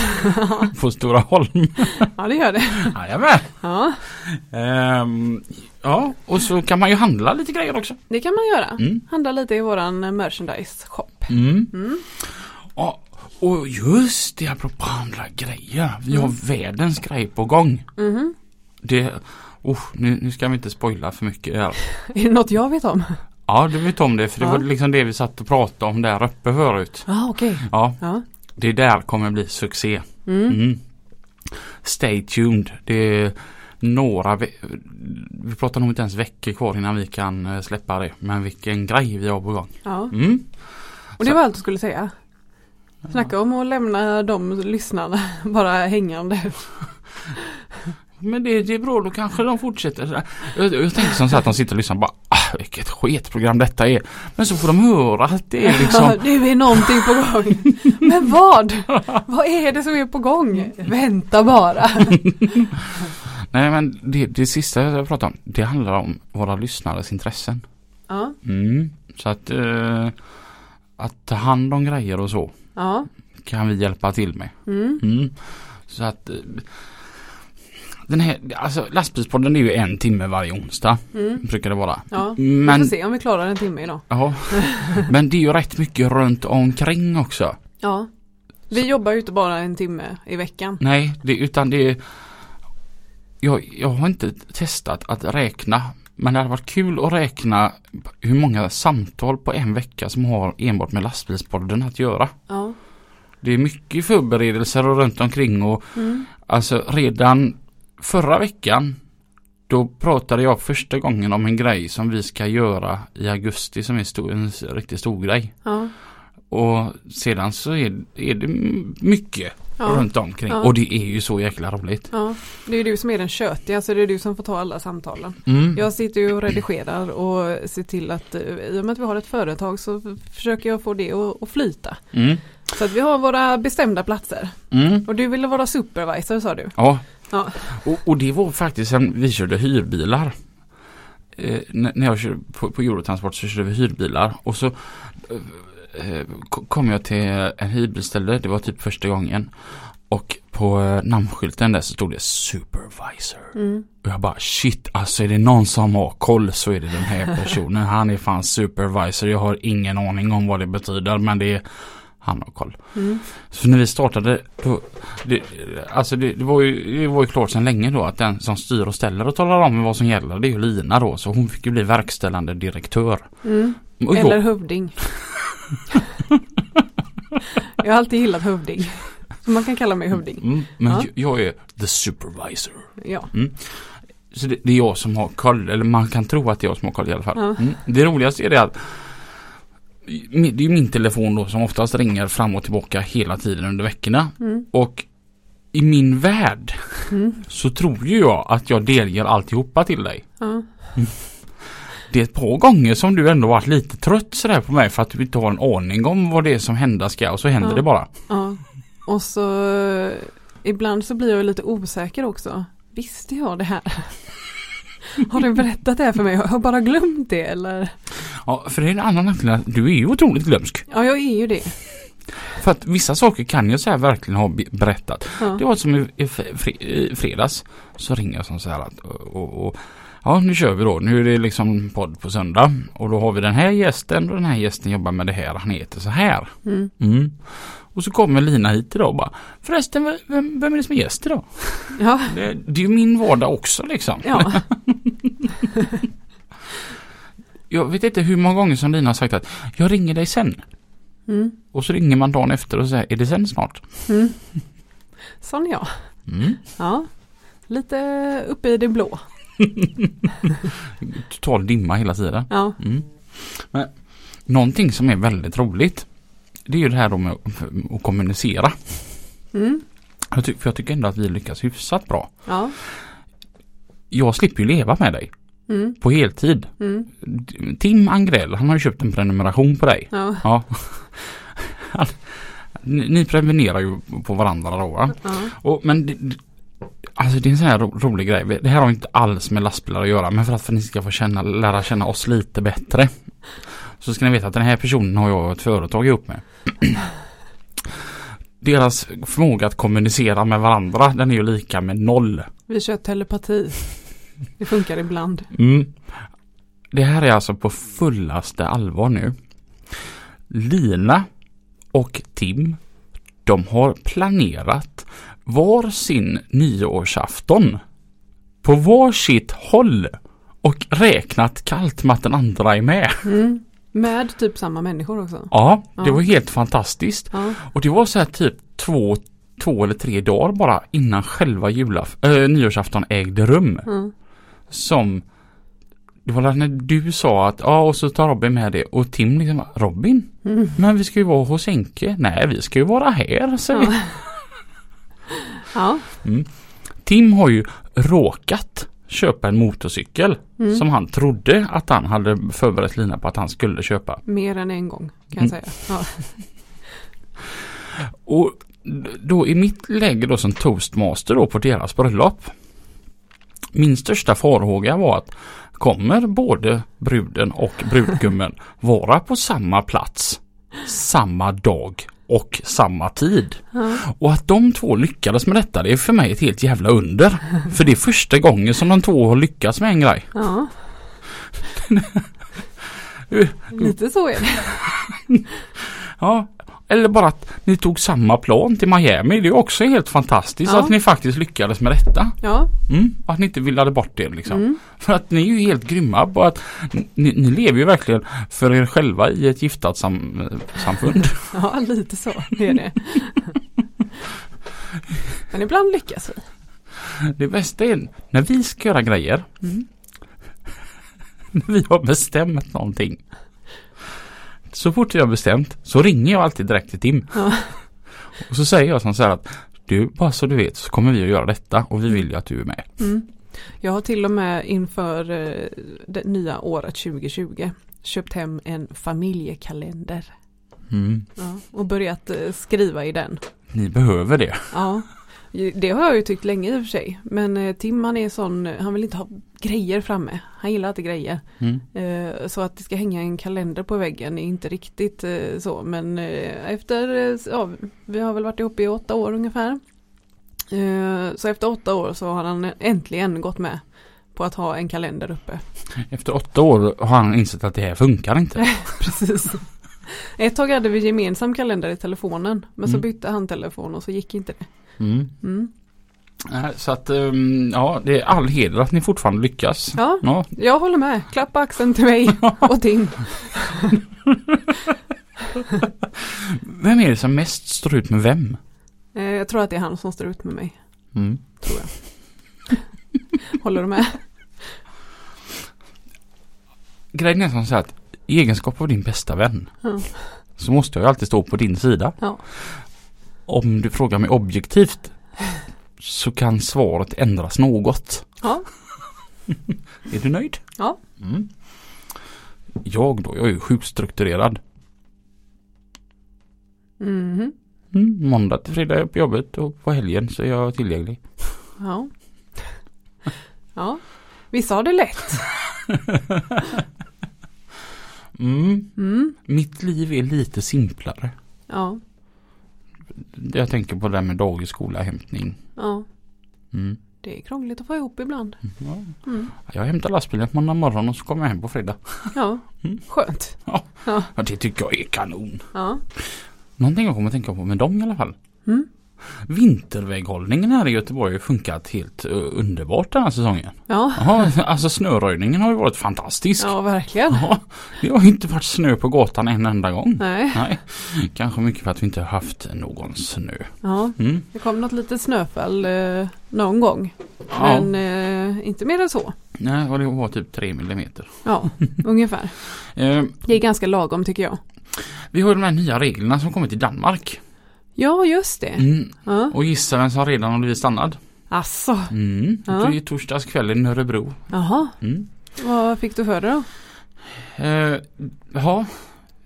[SPEAKER 1] på Stora Holm.
[SPEAKER 2] ja det gör det.
[SPEAKER 1] Jajamän!
[SPEAKER 2] Ja,
[SPEAKER 1] Ehm, ja, och så kan man ju handla lite grejer också.
[SPEAKER 2] det kan man göra.
[SPEAKER 1] Mm.
[SPEAKER 2] Handla lite i våran eh, merchandise-shop.
[SPEAKER 1] Mm.
[SPEAKER 2] Mm.
[SPEAKER 1] Ja, och just det, apropå andra grejer. Vi
[SPEAKER 2] Mm.
[SPEAKER 1] har världens grej på gång.
[SPEAKER 2] Mhm.
[SPEAKER 1] Det, oh, nu, nu ska vi inte spoila för mycket här.
[SPEAKER 2] Är det något jag vet om?
[SPEAKER 1] Ja, du vet om det för det
[SPEAKER 2] Ja.
[SPEAKER 1] var liksom det vi satt och pratade om där uppe förut.
[SPEAKER 2] Ja, ah, okej.
[SPEAKER 1] Ja,
[SPEAKER 2] Ja.
[SPEAKER 1] det där kommer bli succé.
[SPEAKER 2] Mm.
[SPEAKER 1] Mm. Stay tuned. Det är några ve- Vi pratar nog inte ens veckor kvar innan vi kan eh, släppa det. Men vilken grej vi har på gång.
[SPEAKER 2] ja.
[SPEAKER 1] Mm.
[SPEAKER 2] Och det var allt du skulle säga. Snacka om att lämna de lyssnarna bara hängande.
[SPEAKER 1] Men det, det är bra, då kanske de fortsätter. Jag, jag tänker som så här att de sitter och lyssnar och bara ah, vilket sketprogram detta är. Men så får de höra att det är liksom
[SPEAKER 2] Nu är någonting på gång. Men vad? Vad är det som är på gång? Vänta bara.
[SPEAKER 1] Nej men det, det sista jag pratade om det handlar om våra lyssnares intressen.
[SPEAKER 2] Ja,
[SPEAKER 1] Mm. Så att, eh, att ta hand om grejer och så
[SPEAKER 2] ja.
[SPEAKER 1] kan vi hjälpa till med.
[SPEAKER 2] Mm.
[SPEAKER 1] Mm. Så att eh, den här, alltså lastbilspodden är ju en timme varje onsdag
[SPEAKER 2] Mm.
[SPEAKER 1] brukar det vara.
[SPEAKER 2] Ja, Vi
[SPEAKER 1] Men,
[SPEAKER 2] får se om vi klarar en timme idag.
[SPEAKER 1] ja, men det är ju rätt mycket runt omkring också.
[SPEAKER 2] Ja. Vi jobbar ju inte bara en timme i veckan.
[SPEAKER 1] Nej, det, utan det är jag, jag har inte testat att räkna men det hade varit kul att räkna hur många samtal på en vecka som har enbart med lastbilspodden att göra.
[SPEAKER 2] Ja.
[SPEAKER 1] Det är mycket förberedelser och runt omkring och
[SPEAKER 2] Mm.
[SPEAKER 1] Alltså redan förra veckan då pratade jag första gången om en grej som vi ska göra i augusti som är stor, en s- riktigt stor grej.
[SPEAKER 2] Ja.
[SPEAKER 1] Och sedan så är, är det m- mycket
[SPEAKER 2] Ja.
[SPEAKER 1] runt omkring
[SPEAKER 2] Ja.
[SPEAKER 1] och det är ju så jäkla roligt.
[SPEAKER 2] ja. Det är ju du som är den tjötiga så det är du som får ta alla samtalen.
[SPEAKER 1] Mm.
[SPEAKER 2] Jag sitter ju och redigerar och ser till att eh, i och med att vi har ett företag så f- försöker jag få det att, att flyta.
[SPEAKER 1] Mm.
[SPEAKER 2] Så att vi har våra bestämda platser.
[SPEAKER 1] Mm.
[SPEAKER 2] Och du ville vara supervisor sa du.
[SPEAKER 1] Ja.
[SPEAKER 2] Ja.
[SPEAKER 1] Och, och det var faktiskt sen vi körde hyrbilar. Eh, när när jag körde på, på Eurotransport så körde vi hyrbilar och så eh, eh, ko- kom jag till en hyrbilställe, det var typ första gången. Och på eh, namnskylten där så stod det Supervisor.
[SPEAKER 2] Mm.
[SPEAKER 1] Och jag bara shit, alltså är det någon som har koll så är det den här personen. Han är fan supervisor, jag har ingen aning om vad det betyder men det är han har koll.
[SPEAKER 2] Mm.
[SPEAKER 1] Så när vi startade, då, det, alltså det, det, var ju, det var ju klart sedan länge då att den som styr och ställer och talar om vad som gäller det är ju Lina då så hon fick ju bli verkställande direktör.
[SPEAKER 2] Mm.
[SPEAKER 1] Och jag-
[SPEAKER 2] Eller hövding. jag har alltid gillat hövding. Så man kan kalla mig hövding.
[SPEAKER 1] Mm, men
[SPEAKER 2] Ja.
[SPEAKER 1] jag- jag är the supervisor.
[SPEAKER 2] Ja.
[SPEAKER 1] Så det, det är jag som har koll, eller man kan tro att det är jag som har koll i alla fall.
[SPEAKER 2] Ja.
[SPEAKER 1] Mm. Det roligaste är det att min- det är ju min telefon då som oftast ringer fram och tillbaka hela tiden under veckorna.
[SPEAKER 2] Mm.
[SPEAKER 1] Och i min värld
[SPEAKER 2] Mm.
[SPEAKER 1] så tror ju jag att jag delger alltihopa till dig.
[SPEAKER 2] Ja.
[SPEAKER 1] Det är ett par gånger som du ändå varit lite trött sådär på mig för att du inte har en aning om vad det är som hända ska och så händer
[SPEAKER 2] Ja.
[SPEAKER 1] det bara.
[SPEAKER 2] ja. Och så eh, ibland så blir jag lite osäker också. Visste jag det här? Har du berättat det här för mig? Har jag bara glömt det eller?
[SPEAKER 1] Ja, för det är en annan nackdel att du är ju otroligt glömsk.
[SPEAKER 2] Ja, jag är ju det.
[SPEAKER 1] För att vissa saker kan jag så här verkligen ha be- berättat. Det
[SPEAKER 2] Ja.
[SPEAKER 1] var som i, i, fre- i fredags så ringer jag som så här att och, och, och, Ja nu kör vi då. Nu är det liksom podd på söndag och då har vi den här gästen och den här gästen jobbar med det här. Han heter så här.
[SPEAKER 2] Mm.
[SPEAKER 1] Mm. Och så kommer Lina hit idag och bara Förresten vem- vem, vem är det som är gäst idag?
[SPEAKER 2] Ja.
[SPEAKER 1] Det, det är ju min vardag också liksom.
[SPEAKER 2] Ja.
[SPEAKER 1] Jag vet inte hur många gånger som Lina har sagt att jag ringer dig sen.
[SPEAKER 2] Mm.
[SPEAKER 1] Och så ringer man dagen efter och säger är det sen snart?
[SPEAKER 2] Mm. Sån ja.
[SPEAKER 1] Mm.
[SPEAKER 2] Ja. Lite uppe i det blå.
[SPEAKER 1] Total dimma hela tiden.
[SPEAKER 2] Ja.
[SPEAKER 1] Mm. Men någonting som är väldigt roligt det är ju det här då med att- att kommunicera.
[SPEAKER 2] Mm.
[SPEAKER 1] Jag ty- för jag tycker ändå att vi lyckas hyfsat bra.
[SPEAKER 2] Ja.
[SPEAKER 1] Jag slipper ju leva med dig
[SPEAKER 2] Mm.
[SPEAKER 1] på heltid.
[SPEAKER 2] Mm.
[SPEAKER 1] Tim Angrell, han har ju köpt en prenumeration på dig.
[SPEAKER 2] Ja.
[SPEAKER 1] Ja. Han- Ni, ni prenumererar ju på varandra då va?
[SPEAKER 2] Ja.
[SPEAKER 1] Och, men det, det- alltså det är en sån här ro, rolig grej. Vi- Det här har inte alls med lastbilar att göra men för att för ni ska få känna, lära känna oss lite bättre. Så ska ni veta att den här personen har jag ett företag ihop med. Deras förmåga att kommunicera med varandra den är ju lika med noll.
[SPEAKER 2] Vi kör telepati. Det funkar ibland.
[SPEAKER 1] Mm. Det här är alltså på fullaste allvar nu. Lina och Tim, de har planerat var sin nyårsafton på varsitt håll och räknat kallt med att den andra är med.
[SPEAKER 2] Mm. Med typ samma människor också.
[SPEAKER 1] Ja, det
[SPEAKER 2] Ja.
[SPEAKER 1] var helt fantastiskt.
[SPEAKER 2] Ja.
[SPEAKER 1] Och det var så här typ två, två eller tre dagar bara innan själva julaf- äh, nyårsafton ägde rum.
[SPEAKER 2] Mm.
[SPEAKER 1] Som det var när du sa att ja och så tar Robin med det och Tim liksom Robin
[SPEAKER 2] Mm.
[SPEAKER 1] men vi ska ju vara hos Henke. Nej vi ska ju vara här säger
[SPEAKER 2] Ja. ja.
[SPEAKER 1] Tim har ju råkat köpa en motorcykel
[SPEAKER 2] Mm.
[SPEAKER 1] som han trodde att han hade förberett Lina på att han skulle köpa.
[SPEAKER 2] Mer än en gång kan jag säga. Ja.
[SPEAKER 1] Och d- då i mitt läge då som toastmaster då på deras bröllop. Min största farhåga var att kommer både bruden och brudgummen vara på samma plats samma dag och samma tid.
[SPEAKER 2] Ja.
[SPEAKER 1] Och att de två lyckades med detta det är för mig ett helt jävla under. För det är första gången som de två har lyckats med en grej.
[SPEAKER 2] ja. Lite så är det.
[SPEAKER 1] Eh, Ja, eller bara att ni tog samma plan till Miami. Det är också helt fantastiskt
[SPEAKER 2] Ja.
[SPEAKER 1] att ni faktiskt lyckades med detta.
[SPEAKER 2] Ja.
[SPEAKER 1] Mm, och att ni inte villade bort det liksom.
[SPEAKER 2] Mm.
[SPEAKER 1] För att ni är ju helt grymma på att ni, ni lever ju verkligen för er själva i ett giftat sam, samfund.
[SPEAKER 2] ja, lite så är det. Men ibland lyckas vi.
[SPEAKER 1] Det bästa är när vi ska göra grejer,
[SPEAKER 2] Mm.
[SPEAKER 1] när vi har bestämt någonting. Så fort vi har bestämt så ringer jag alltid direkt till Tim.
[SPEAKER 2] Ja.
[SPEAKER 1] Och så säger jag som så här att du, bara så du vet så kommer vi att göra detta och vi vill ju att du är med.
[SPEAKER 2] Mm. Jag har till och med inför eh, det nya året 2020 köpt hem en familjekalender
[SPEAKER 1] Mm.
[SPEAKER 2] ja, och börjat eh, skriva i den.
[SPEAKER 1] Ni behöver det.
[SPEAKER 2] Ja, det har jag ju tyckt länge i och för sig. Men eh, Tim han är sån, eh, han vill inte ha grejer framme. Han gillar inte grejer.
[SPEAKER 1] Mm.
[SPEAKER 2] Eh, Så att det ska hänga en kalender på väggen är inte riktigt eh, så. Men eh, efter, eh, s- ja, vi har väl varit ihop i åtta år ungefär. Eh, Så efter åtta år så har han äntligen gått med på att ha en kalender uppe.
[SPEAKER 1] Efter åtta år har han insett att det här funkar inte.
[SPEAKER 2] Precis. Ett tag hade vi gemensam kalender i telefonen. Men så
[SPEAKER 1] Mm.
[SPEAKER 2] bytte han telefon och så gick inte det.
[SPEAKER 1] Mm.
[SPEAKER 2] Mm.
[SPEAKER 1] Nej, Så att ehm, ja, det är all heder att ni fortfarande lyckas.
[SPEAKER 2] Ja,
[SPEAKER 1] Ja,
[SPEAKER 2] jag håller med. Klappa axeln till mig och Tim.
[SPEAKER 1] Vem är det som mest står ut med vem?
[SPEAKER 2] Eh, Jag tror att det är han som står ut med mig.
[SPEAKER 1] Mm.
[SPEAKER 2] Håller du med?
[SPEAKER 1] Grejen är som så här att i egenskap av din bästa vän
[SPEAKER 2] Ja.
[SPEAKER 1] så måste jag ju alltid stå på din sida.
[SPEAKER 2] Mm. Ja.
[SPEAKER 1] Om du frågar mig objektivt så kan svaret ändras något.
[SPEAKER 2] Ja.
[SPEAKER 1] är du nöjd?
[SPEAKER 2] Ja.
[SPEAKER 1] Mm. Jag då, jag är ju sjukt strukturerad.
[SPEAKER 2] Mhm.
[SPEAKER 1] Mm, måndag till fredag är jag på jobbet och på helgen så är jag tillgänglig.
[SPEAKER 2] Ja. Ja. Vissa har det lätt.
[SPEAKER 1] Mm.
[SPEAKER 2] Mm.
[SPEAKER 1] Mitt liv är lite simplare.
[SPEAKER 2] Ja.
[SPEAKER 1] Jag tänker på det där med dagis, skola, hämtning.
[SPEAKER 2] ja.
[SPEAKER 1] Mm.
[SPEAKER 2] Det är krångligt att få ihop ibland.
[SPEAKER 1] Ja.
[SPEAKER 2] Mm.
[SPEAKER 1] Jag hämtar lastbilen på måndag morgon och så kommer jag hem på fredag.
[SPEAKER 2] Ja.
[SPEAKER 1] Mm.
[SPEAKER 2] Skönt.
[SPEAKER 1] Ja, det tycker jag är kanon.
[SPEAKER 2] Ja.
[SPEAKER 1] Någonting jag kommer att tänka på med dem i alla fall.
[SPEAKER 2] Mm.
[SPEAKER 1] Vinterväghållningen här i Göteborg har ju funkat helt eh, underbart den här säsongen.
[SPEAKER 2] Ja.
[SPEAKER 1] Jaha, alltså snöröjningen har ju varit fantastisk.
[SPEAKER 2] Ja, verkligen.
[SPEAKER 1] Ja, det har ju inte varit snö på gatan en enda gång.
[SPEAKER 2] Nej.
[SPEAKER 1] Nej, kanske mycket för att vi inte har haft någon snö.
[SPEAKER 2] Ja.
[SPEAKER 1] Mm.
[SPEAKER 2] Det kom något litet snöfall eh, någon gång.
[SPEAKER 1] Ja,
[SPEAKER 2] Men eh, inte mer än så.
[SPEAKER 1] nej, och det var typ 3 millimeter.
[SPEAKER 2] Ja, ungefär.
[SPEAKER 1] Eh,
[SPEAKER 2] Det är ganska lagom tycker jag.
[SPEAKER 1] vi har ju de här nya reglerna som kommit i Danmark.
[SPEAKER 2] Ja, just det.
[SPEAKER 1] Mm.
[SPEAKER 2] Ja.
[SPEAKER 1] Och gissa vem som redan har blivit stannad?
[SPEAKER 2] Asså.
[SPEAKER 1] Mm.
[SPEAKER 2] Ja.
[SPEAKER 1] Det är torsdags kväll i Örebro.
[SPEAKER 2] Jaha.
[SPEAKER 1] Mm.
[SPEAKER 2] Vad fick du för det då?
[SPEAKER 1] Eh, ja,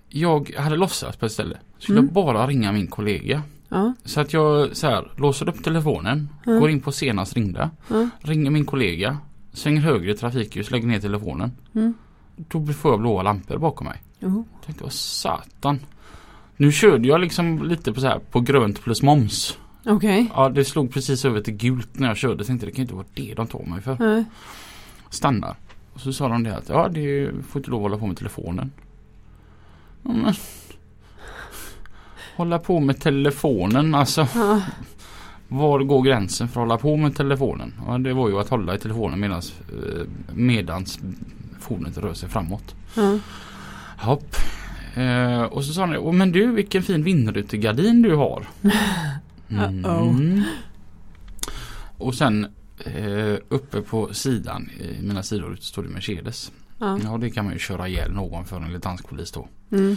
[SPEAKER 1] jag hade låtsats på ett ställe. Skulle
[SPEAKER 2] Mm.
[SPEAKER 1] jag bara ringa min kollega.
[SPEAKER 2] Ja.
[SPEAKER 1] Så att jag så här, låser upp telefonen,
[SPEAKER 2] Mm.
[SPEAKER 1] går in på senast ringda,
[SPEAKER 2] Ja.
[SPEAKER 1] ringer min kollega, svänger höger i trafikljus, lägger ner telefonen.
[SPEAKER 2] Mm.
[SPEAKER 1] Då får jag blåa lampor bakom mig.
[SPEAKER 2] Jo.
[SPEAKER 1] Jag tänkte, vad satan. Nu körde jag liksom lite på så här på grönt plus moms.
[SPEAKER 2] Okej.
[SPEAKER 1] Ja det slog precis över till gult när jag körde. Jag tänkte det kan ju inte vara det de tar mig för.
[SPEAKER 2] Nej.
[SPEAKER 1] stannar. Och så sa de det att ja, det får inte lov att hålla på med telefonen. Ja, men, hålla på med telefonen alltså.
[SPEAKER 2] Ja.
[SPEAKER 1] Var går gränsen för att hålla på med telefonen? Ja, det var ju att hålla i telefonen medans, eh, medans fordonet rör sig framåt.
[SPEAKER 2] Ja.
[SPEAKER 1] Hopp. Eh, och så sa han "Åh, men du vilken fin vindrutegardin du har. Mm.
[SPEAKER 2] Uh-oh.
[SPEAKER 1] Och sen eh, uppe på sidan, i mina sidor stod det Mercedes.
[SPEAKER 2] Ja.
[SPEAKER 1] Ja det kan man ju köra ihjäl någon för enligt dansk polis då.
[SPEAKER 2] Mm.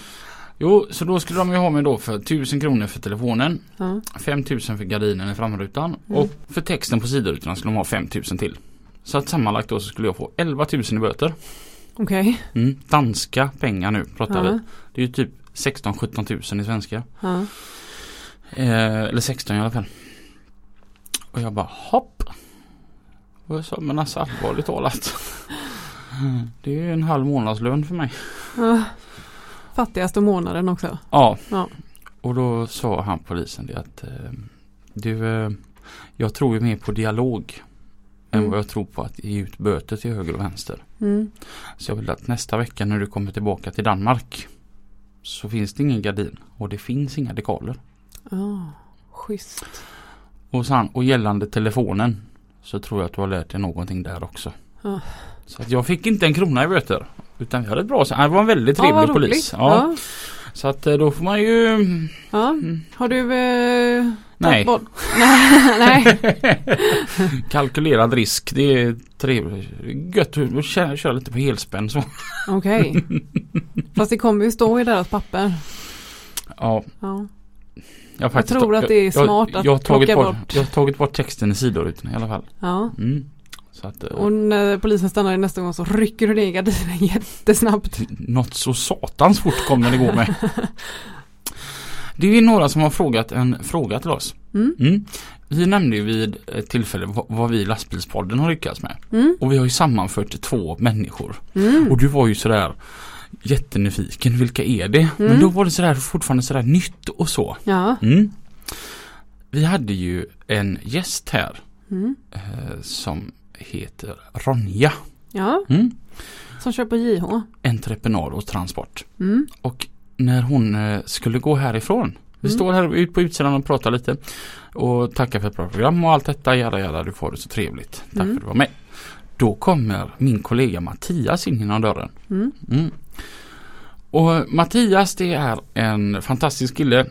[SPEAKER 1] Jo, så då skulle de ju ha mig då för 1000 kronor för telefonen,
[SPEAKER 2] Ja.
[SPEAKER 1] 5000 för gardinen i framrutan
[SPEAKER 2] Mm.
[SPEAKER 1] och för texten på sidorutan skulle de ha 5000 till. Så att sammanlagt då så skulle jag få 11 000 i böter.
[SPEAKER 2] Okej.
[SPEAKER 1] Mm, danska pengar nu pratar vi.
[SPEAKER 2] Ja.
[SPEAKER 1] Det är ju typ 16-17 000 i svenska.
[SPEAKER 2] Ja.
[SPEAKER 1] Eh, eller 16 i alla fall. Och jag bara hopp. Och jag sa men alltså allvarligt talat. Det är ju en halv månadslön för mig.
[SPEAKER 2] Ja. Fattigaste månaden också.
[SPEAKER 1] Ja.
[SPEAKER 2] Ja.
[SPEAKER 1] Och då sa han polisen det att eh, du eh, jag tror ju mer på dialog än
[SPEAKER 2] Mm.
[SPEAKER 1] vad jag tror på att ge ut böter till höger och vänster.
[SPEAKER 2] Mm.
[SPEAKER 1] Så jag vill att nästa vecka när du kommer tillbaka till Danmark så finns det ingen gardin och det finns inga dekaler.
[SPEAKER 2] Ja. Schysst.
[SPEAKER 1] Och, sen, och gällande telefonen så tror jag att du har lärt dig någonting där också.
[SPEAKER 2] Ja.
[SPEAKER 1] Så att jag fick inte en krona i böter. Utan vi hade ett bra sam- Han var en väldigt
[SPEAKER 2] Ja,
[SPEAKER 1] trevlig
[SPEAKER 2] vad roligt.
[SPEAKER 1] polis. Ja.
[SPEAKER 2] Ja.
[SPEAKER 1] Så att eh, då får man ju...
[SPEAKER 2] Ja. Har du eh, tagit
[SPEAKER 1] Nej.
[SPEAKER 2] bort? Nej. Nej.
[SPEAKER 1] Kalkylerad risk. Det är trevligt. Gött att köra, köra lite på helspänn så.
[SPEAKER 2] Okej. Fast det kommer ju stå i deras papper.
[SPEAKER 1] Ja,
[SPEAKER 2] Ja.
[SPEAKER 1] jag, har faktiskt-
[SPEAKER 2] tror att det är
[SPEAKER 1] jag-
[SPEAKER 2] smart att
[SPEAKER 1] jag har tagit
[SPEAKER 2] plocka
[SPEAKER 1] bort,
[SPEAKER 2] bort.
[SPEAKER 1] Jag har tagit bort texten i sidorutan i alla fall.
[SPEAKER 2] ja.
[SPEAKER 1] Mm. Så att, eh,
[SPEAKER 2] Och när polisen stannar dig nästa gång så rycker du ner gardinen jättesnabbt.
[SPEAKER 1] Något så satans fort kom den igår med. Det är ju några som har frågat en fråga till oss.
[SPEAKER 2] Mm.
[SPEAKER 1] Mm. Vi nämnde ju vid ett tillfälle vad, vad vi i Lastbilspodden har lyckats med.
[SPEAKER 2] Mm.
[SPEAKER 1] Och vi har ju sammanfört två människor.
[SPEAKER 2] Mm.
[SPEAKER 1] Och du var ju sådär jättenyfiken, vilka är det? Men
[SPEAKER 2] Mm.
[SPEAKER 1] då var det sådär fortfarande sådär nytt och så.
[SPEAKER 2] Ja.
[SPEAKER 1] Mm. Vi hade ju en gäst här
[SPEAKER 2] Mm.
[SPEAKER 1] eh, som heter Ronja.
[SPEAKER 2] Ja.
[SPEAKER 1] Mm.
[SPEAKER 2] Som kör på JH.
[SPEAKER 1] Entreprenör och transport.
[SPEAKER 2] Mm.
[SPEAKER 1] Och när hon eh, skulle gå härifrån vi
[SPEAKER 2] Mm.
[SPEAKER 1] står här ut på utsidan och pratar lite och tackar för ett bra program och allt detta. Jada, jada, du får det så trevligt. Tack för
[SPEAKER 2] Mm.
[SPEAKER 1] att du var med. Då kommer min kollega Mattias in genom dörren.
[SPEAKER 2] Mm.
[SPEAKER 1] Mm. Och Mattias det är en fantastisk kille.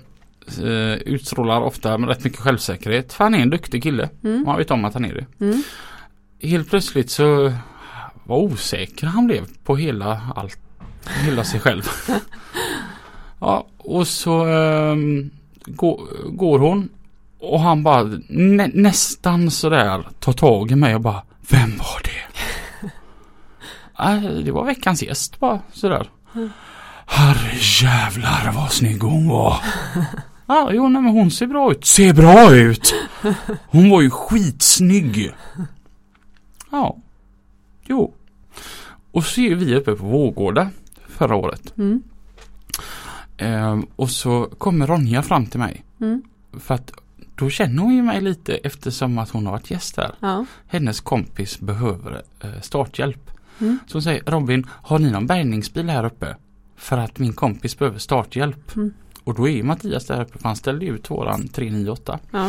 [SPEAKER 1] Eh, utstrålar ofta med rätt mycket självsäkerhet. För han är en duktig kille.
[SPEAKER 2] Mm.
[SPEAKER 1] Man vet om att han är det.
[SPEAKER 2] Mm.
[SPEAKER 1] Helt plötsligt så vad osäker han blev på hela allt, hela sig själv. ja, och så ehm, gå, går hon och han bara nä, nästan sådär tar tag i mig och bara Vem var det? äh, det var veckans gäst bara sådär. Herrejävlar vad snygg hon var. Ja, jo, nej, men hon ser bra ut. Ser bra ut! Hon var ju skitsnygg. Ja. Jo. Och så är vi uppe på Vårgårda förra året.
[SPEAKER 2] Mm.
[SPEAKER 1] Ehm, och så kommer Ronja fram till mig.
[SPEAKER 2] Mm.
[SPEAKER 1] För att då känner hon ju mig lite eftersom att hon har varit gäst här.
[SPEAKER 2] Ja.
[SPEAKER 1] Hennes kompis behöver eh, starthjälp.
[SPEAKER 2] Mm.
[SPEAKER 1] Så hon säger Robin, har ni någon bärgningsbil här uppe? För att min kompis behöver starthjälp.
[SPEAKER 2] Mm.
[SPEAKER 1] Och då är ju Mattias där uppe för han ställde ut våran 398.
[SPEAKER 2] Ja.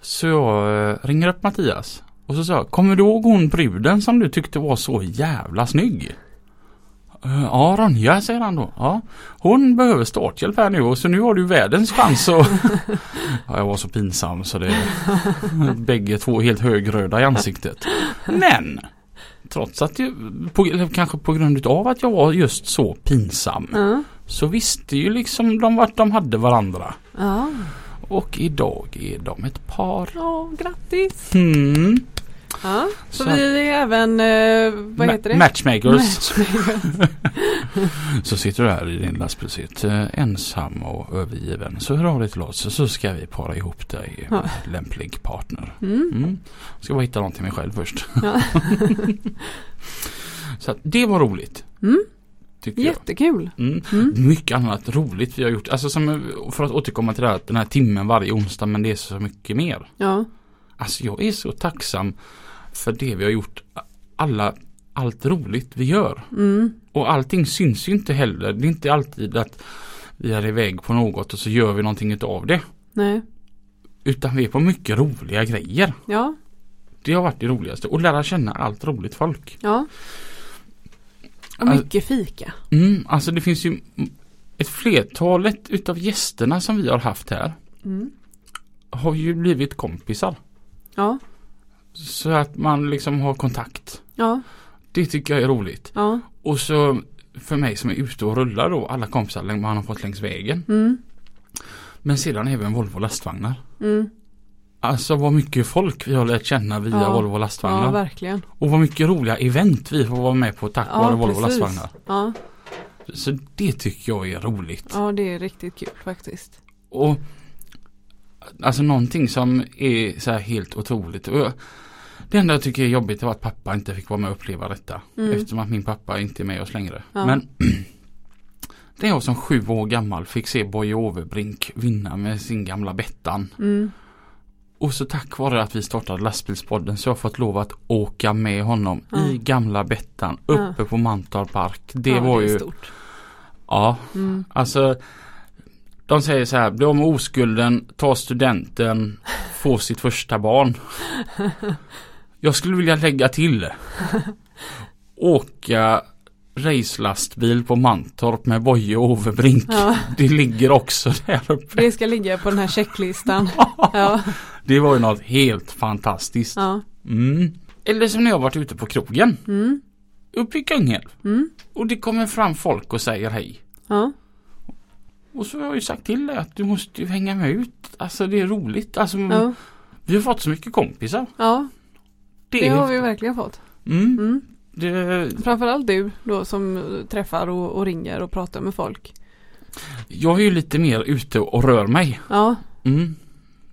[SPEAKER 1] Så jag eh, ringer upp Mattias och så sa jag, kommer du ihåg hon bruden som du tyckte var så jävla snygg? "Eh, Ja Ronja säger han då. Ja, hon behöver starthjälp här nu och så nu har du världens chans att... ja, jag var så pinsam så det... Bägge två helt högröda i ansiktet. Men! Trots att jag, på, eller kanske på grund utav att jag var just så pinsam
[SPEAKER 2] Ja.
[SPEAKER 1] så visste ju liksom de vart de hade varandra.
[SPEAKER 2] Ja.
[SPEAKER 1] Och idag är de ett par.
[SPEAKER 2] Ja, grattis.
[SPEAKER 1] Mm.
[SPEAKER 2] Ja. Så,
[SPEAKER 1] Så-
[SPEAKER 2] vi är även, eh, vad
[SPEAKER 1] Ma-
[SPEAKER 2] heter det?
[SPEAKER 1] Matchmakers.
[SPEAKER 2] Matchmakers.
[SPEAKER 1] Så sitter du här i din lastbilshytt eh, ensam och övergiven. Så hör av dig till oss så ska vi para ihop dig med
[SPEAKER 2] Ja.
[SPEAKER 1] lämplig partner.
[SPEAKER 2] Mm.
[SPEAKER 1] Mm. Ska bara hitta någon till mig själv först.
[SPEAKER 2] Ja.
[SPEAKER 1] så att det var roligt.
[SPEAKER 2] Mm.
[SPEAKER 1] Tycker
[SPEAKER 2] Jättekul.
[SPEAKER 1] jag. Mm.
[SPEAKER 2] Mm.
[SPEAKER 1] Mycket annat roligt vi har gjort. Alltså som, eh, för att återkomma till det här, att den här timmen varje onsdag men det är så mycket mer.
[SPEAKER 2] Ja.
[SPEAKER 1] Alltså jag är så tacksam för det vi har gjort. Alla, allt roligt vi gör.
[SPEAKER 2] Mm.
[SPEAKER 1] Och allting syns ju inte heller. Det är inte alltid att vi är iväg på något och så gör vi någonting utav det.
[SPEAKER 2] Nej.
[SPEAKER 1] Utan vi är på mycket roliga grejer.
[SPEAKER 2] Ja,
[SPEAKER 1] Det har varit det roligaste. Och lära känna allt roligt folk.
[SPEAKER 2] ja. Och
[SPEAKER 1] Alltså-
[SPEAKER 2] mycket fika.
[SPEAKER 1] Mm, alltså det finns ju ett flertalet utav gästerna som vi har haft här
[SPEAKER 2] Mm.
[SPEAKER 1] har ju blivit kompisar.
[SPEAKER 2] Ja,
[SPEAKER 1] Så att man liksom har kontakt.
[SPEAKER 2] ja,
[SPEAKER 1] Det tycker jag är roligt.
[SPEAKER 2] ja.
[SPEAKER 1] Och så för mig som är ute och rullar då, alla kompisar läng- man har fått längs vägen.
[SPEAKER 2] Mm.
[SPEAKER 1] Men sedan även Volvo lastvagnar.
[SPEAKER 2] Mm.
[SPEAKER 1] Alltså vad mycket folk vi har lärt känna via
[SPEAKER 2] Ja.
[SPEAKER 1] Volvo
[SPEAKER 2] Ja,
[SPEAKER 1] lastvagnar.
[SPEAKER 2] verkligen.
[SPEAKER 1] och vad mycket roliga event vi får vara med på tack vare
[SPEAKER 2] Ja,
[SPEAKER 1] Volvo
[SPEAKER 2] precis.
[SPEAKER 1] lastvagnar.
[SPEAKER 2] Ja,
[SPEAKER 1] Så det tycker jag är roligt.
[SPEAKER 2] ja, det är riktigt kul faktiskt.
[SPEAKER 1] Och Alltså någonting som är så här helt otroligt. Och jag, det enda jag tycker är jobbigt är att pappa inte fick vara med och uppleva detta.
[SPEAKER 2] Mm.
[SPEAKER 1] Eftersom att min pappa inte är med oss längre.
[SPEAKER 2] Ja.
[SPEAKER 1] Men det är jag som sju år gammal fick se Boje Overbrink vinna med sin gamla Bettan.
[SPEAKER 2] Mm.
[SPEAKER 1] Och så tack vare att vi startade lastbilspodden så har jag fått lov att åka med honom
[SPEAKER 2] Ja.
[SPEAKER 1] i gamla Bettan
[SPEAKER 2] Ja.
[SPEAKER 1] uppe på Mantorp Park. Det
[SPEAKER 2] ja,
[SPEAKER 1] var
[SPEAKER 2] det är
[SPEAKER 1] ju,
[SPEAKER 2] stort.
[SPEAKER 1] ja
[SPEAKER 2] Mm.
[SPEAKER 1] Alltså De säger så här, bli av med oskulden, ta studenten, få sitt första barn. Jag skulle vilja lägga till Åka racelastbil på Mantorp med Boje och Overbrink.
[SPEAKER 2] Ja,
[SPEAKER 1] Det ligger också där uppe.
[SPEAKER 2] det ska ligga på den här checklistan. Ja,
[SPEAKER 1] Det var ju något helt fantastiskt.
[SPEAKER 2] ja.
[SPEAKER 1] Mm. Eller som när jag varit ute på krogen
[SPEAKER 2] Mm.
[SPEAKER 1] uppe i Kungälv.
[SPEAKER 2] Mm.
[SPEAKER 1] Och det kommer fram folk och säger hej.
[SPEAKER 2] Ja,
[SPEAKER 1] Och så har jag ju sagt till dig att du måste ju hänga med ut. Alltså det är roligt. Alltså,
[SPEAKER 2] ja,
[SPEAKER 1] Vi har fått så mycket kompisar.
[SPEAKER 2] ja,
[SPEAKER 1] Det,
[SPEAKER 2] det
[SPEAKER 1] är
[SPEAKER 2] har vi
[SPEAKER 1] häftigt.
[SPEAKER 2] verkligen fått.
[SPEAKER 1] Mm.
[SPEAKER 2] Mm.
[SPEAKER 1] Det,
[SPEAKER 2] Framförallt du då som eh, träffar och, och ringer och pratar med folk.
[SPEAKER 1] jag är ju lite mer ute och rör mig.
[SPEAKER 2] Ja,
[SPEAKER 1] Mm.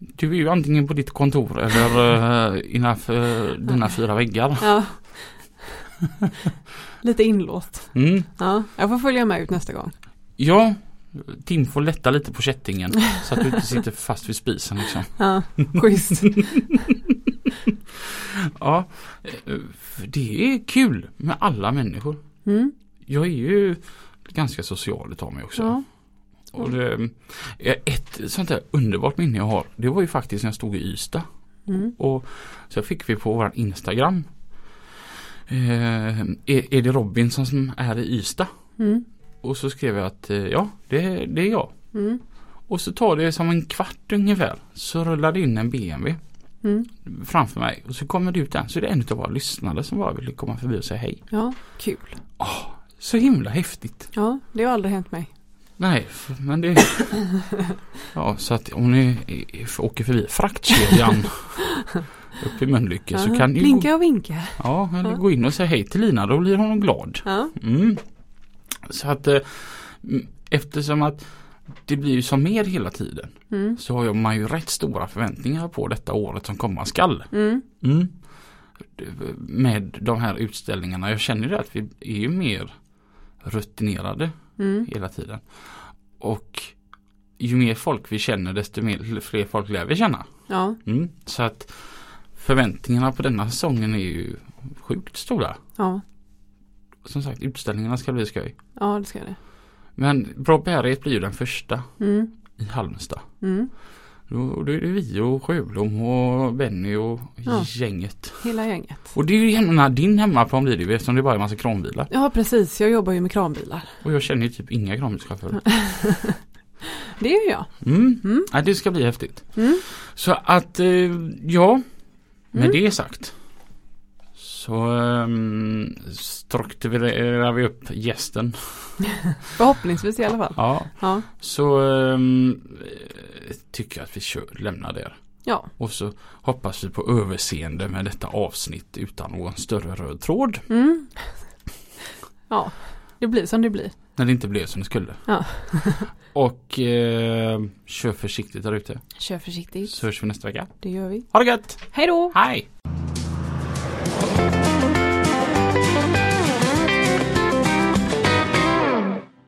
[SPEAKER 1] Du är ju antingen på ditt kontor eller uh, innanför dina fyra väggar.
[SPEAKER 2] ja. Lite inlåst.
[SPEAKER 1] Mm.
[SPEAKER 2] Ja, jag får följa med ut nästa gång.
[SPEAKER 1] Ja, Tim får lätta lite på kättingen så att du inte sitter fast vid spisen. Liksom.
[SPEAKER 2] Ja, schysst.
[SPEAKER 1] Ja, eh, för det är kul med alla människor.
[SPEAKER 2] Mm.
[SPEAKER 1] Jag är ju ganska social utav mig också.
[SPEAKER 2] Ja.
[SPEAKER 1] Och det, eh, ett sånt där underbart minne jag har, det var ju faktiskt när jag stod i Ystad.
[SPEAKER 2] Mm.
[SPEAKER 1] Och så fick vi på vår Instagram eh, är, är det Robin som- som är i Ystad?
[SPEAKER 2] Mm.
[SPEAKER 1] Och så skrev jag att eh, ja, det, det är jag.
[SPEAKER 2] Mm.
[SPEAKER 1] Och så tar det som en kvart ungefär så rullar det in en BMW
[SPEAKER 2] Mm.
[SPEAKER 1] framför mig och så kommer det ut en så är det en av våra lyssnare som bara ville komma förbi och säga hej.
[SPEAKER 2] Ja, kul.
[SPEAKER 1] Så himla häftigt.
[SPEAKER 2] Ja, det har aldrig hänt mig.
[SPEAKER 1] Nej, f- men det... Ja, så att om ni eh, f- åker förbi fraktkedjan upp i Mölnlycke så
[SPEAKER 2] Ja,
[SPEAKER 1] kan ni gå,
[SPEAKER 2] Blinka och vinka.
[SPEAKER 1] ja, eller
[SPEAKER 2] Ja.
[SPEAKER 1] gå in och säga hej till Lina, då blir hon glad.
[SPEAKER 2] Ja,
[SPEAKER 1] Mm. Så att eh, m- eftersom att det blir ju som mer hela tiden
[SPEAKER 2] mm.
[SPEAKER 1] så har jag- man ju rätt stora förväntningar på detta året som komma skall.
[SPEAKER 2] Mm.
[SPEAKER 1] Det- eh, Med de här utställningarna. Jag känner ju det att vi är ju mer rutinerade
[SPEAKER 2] Mm.
[SPEAKER 1] hela tiden. Och ju mer folk vi känner desto mer, fler folk lär vi känna.
[SPEAKER 2] Ja,
[SPEAKER 1] Mm. Så att förväntningarna på denna säsongen är ju sjukt stora.
[SPEAKER 2] ja,
[SPEAKER 1] Som sagt utställningarna ska bli skoj.
[SPEAKER 2] ja, det ska det.
[SPEAKER 1] Men Bra bärighet blir ju den första
[SPEAKER 2] Mm.
[SPEAKER 1] i Halmstad.
[SPEAKER 2] Mm.
[SPEAKER 1] Då, då är det vi och Sjöblom och Benny och
[SPEAKER 2] Ja.
[SPEAKER 1] gänget.
[SPEAKER 2] Hela gänget.
[SPEAKER 1] Och det är ju hemma, din hemmaplan blir det ju eftersom det bara är en massa kranbilar.
[SPEAKER 2] Ja, precis. Jag jobbar ju med kranbilar.
[SPEAKER 1] Och jag känner ju typ inga kranbilschaufförer.
[SPEAKER 2] Det är ju jag.
[SPEAKER 1] Mm.
[SPEAKER 2] Mm.
[SPEAKER 1] Ja, det ska bli häftigt.
[SPEAKER 2] Mm.
[SPEAKER 1] Så att eh, ja, med
[SPEAKER 2] Mm.
[SPEAKER 1] det sagt. Så um, strukturerar vi upp gästen.
[SPEAKER 2] Förhoppningsvis i alla fall.
[SPEAKER 1] Ja,
[SPEAKER 2] Ja,
[SPEAKER 1] så ehm, eh, tycker jag att vi kör, lämnar det.
[SPEAKER 2] ja.
[SPEAKER 1] Och så hoppas vi på överseende med detta avsnitt utan någon större röd tråd.
[SPEAKER 2] Mm. Ja, det blir som det blir.
[SPEAKER 1] När det inte blev som det skulle.
[SPEAKER 2] Ja.
[SPEAKER 1] och eh, kör försiktigt där ute.
[SPEAKER 2] Kör försiktigt.
[SPEAKER 1] Så hörs vi nästa vecka.
[SPEAKER 2] Det gör vi.
[SPEAKER 1] Ha det gött!
[SPEAKER 2] Hej då!
[SPEAKER 1] Hej!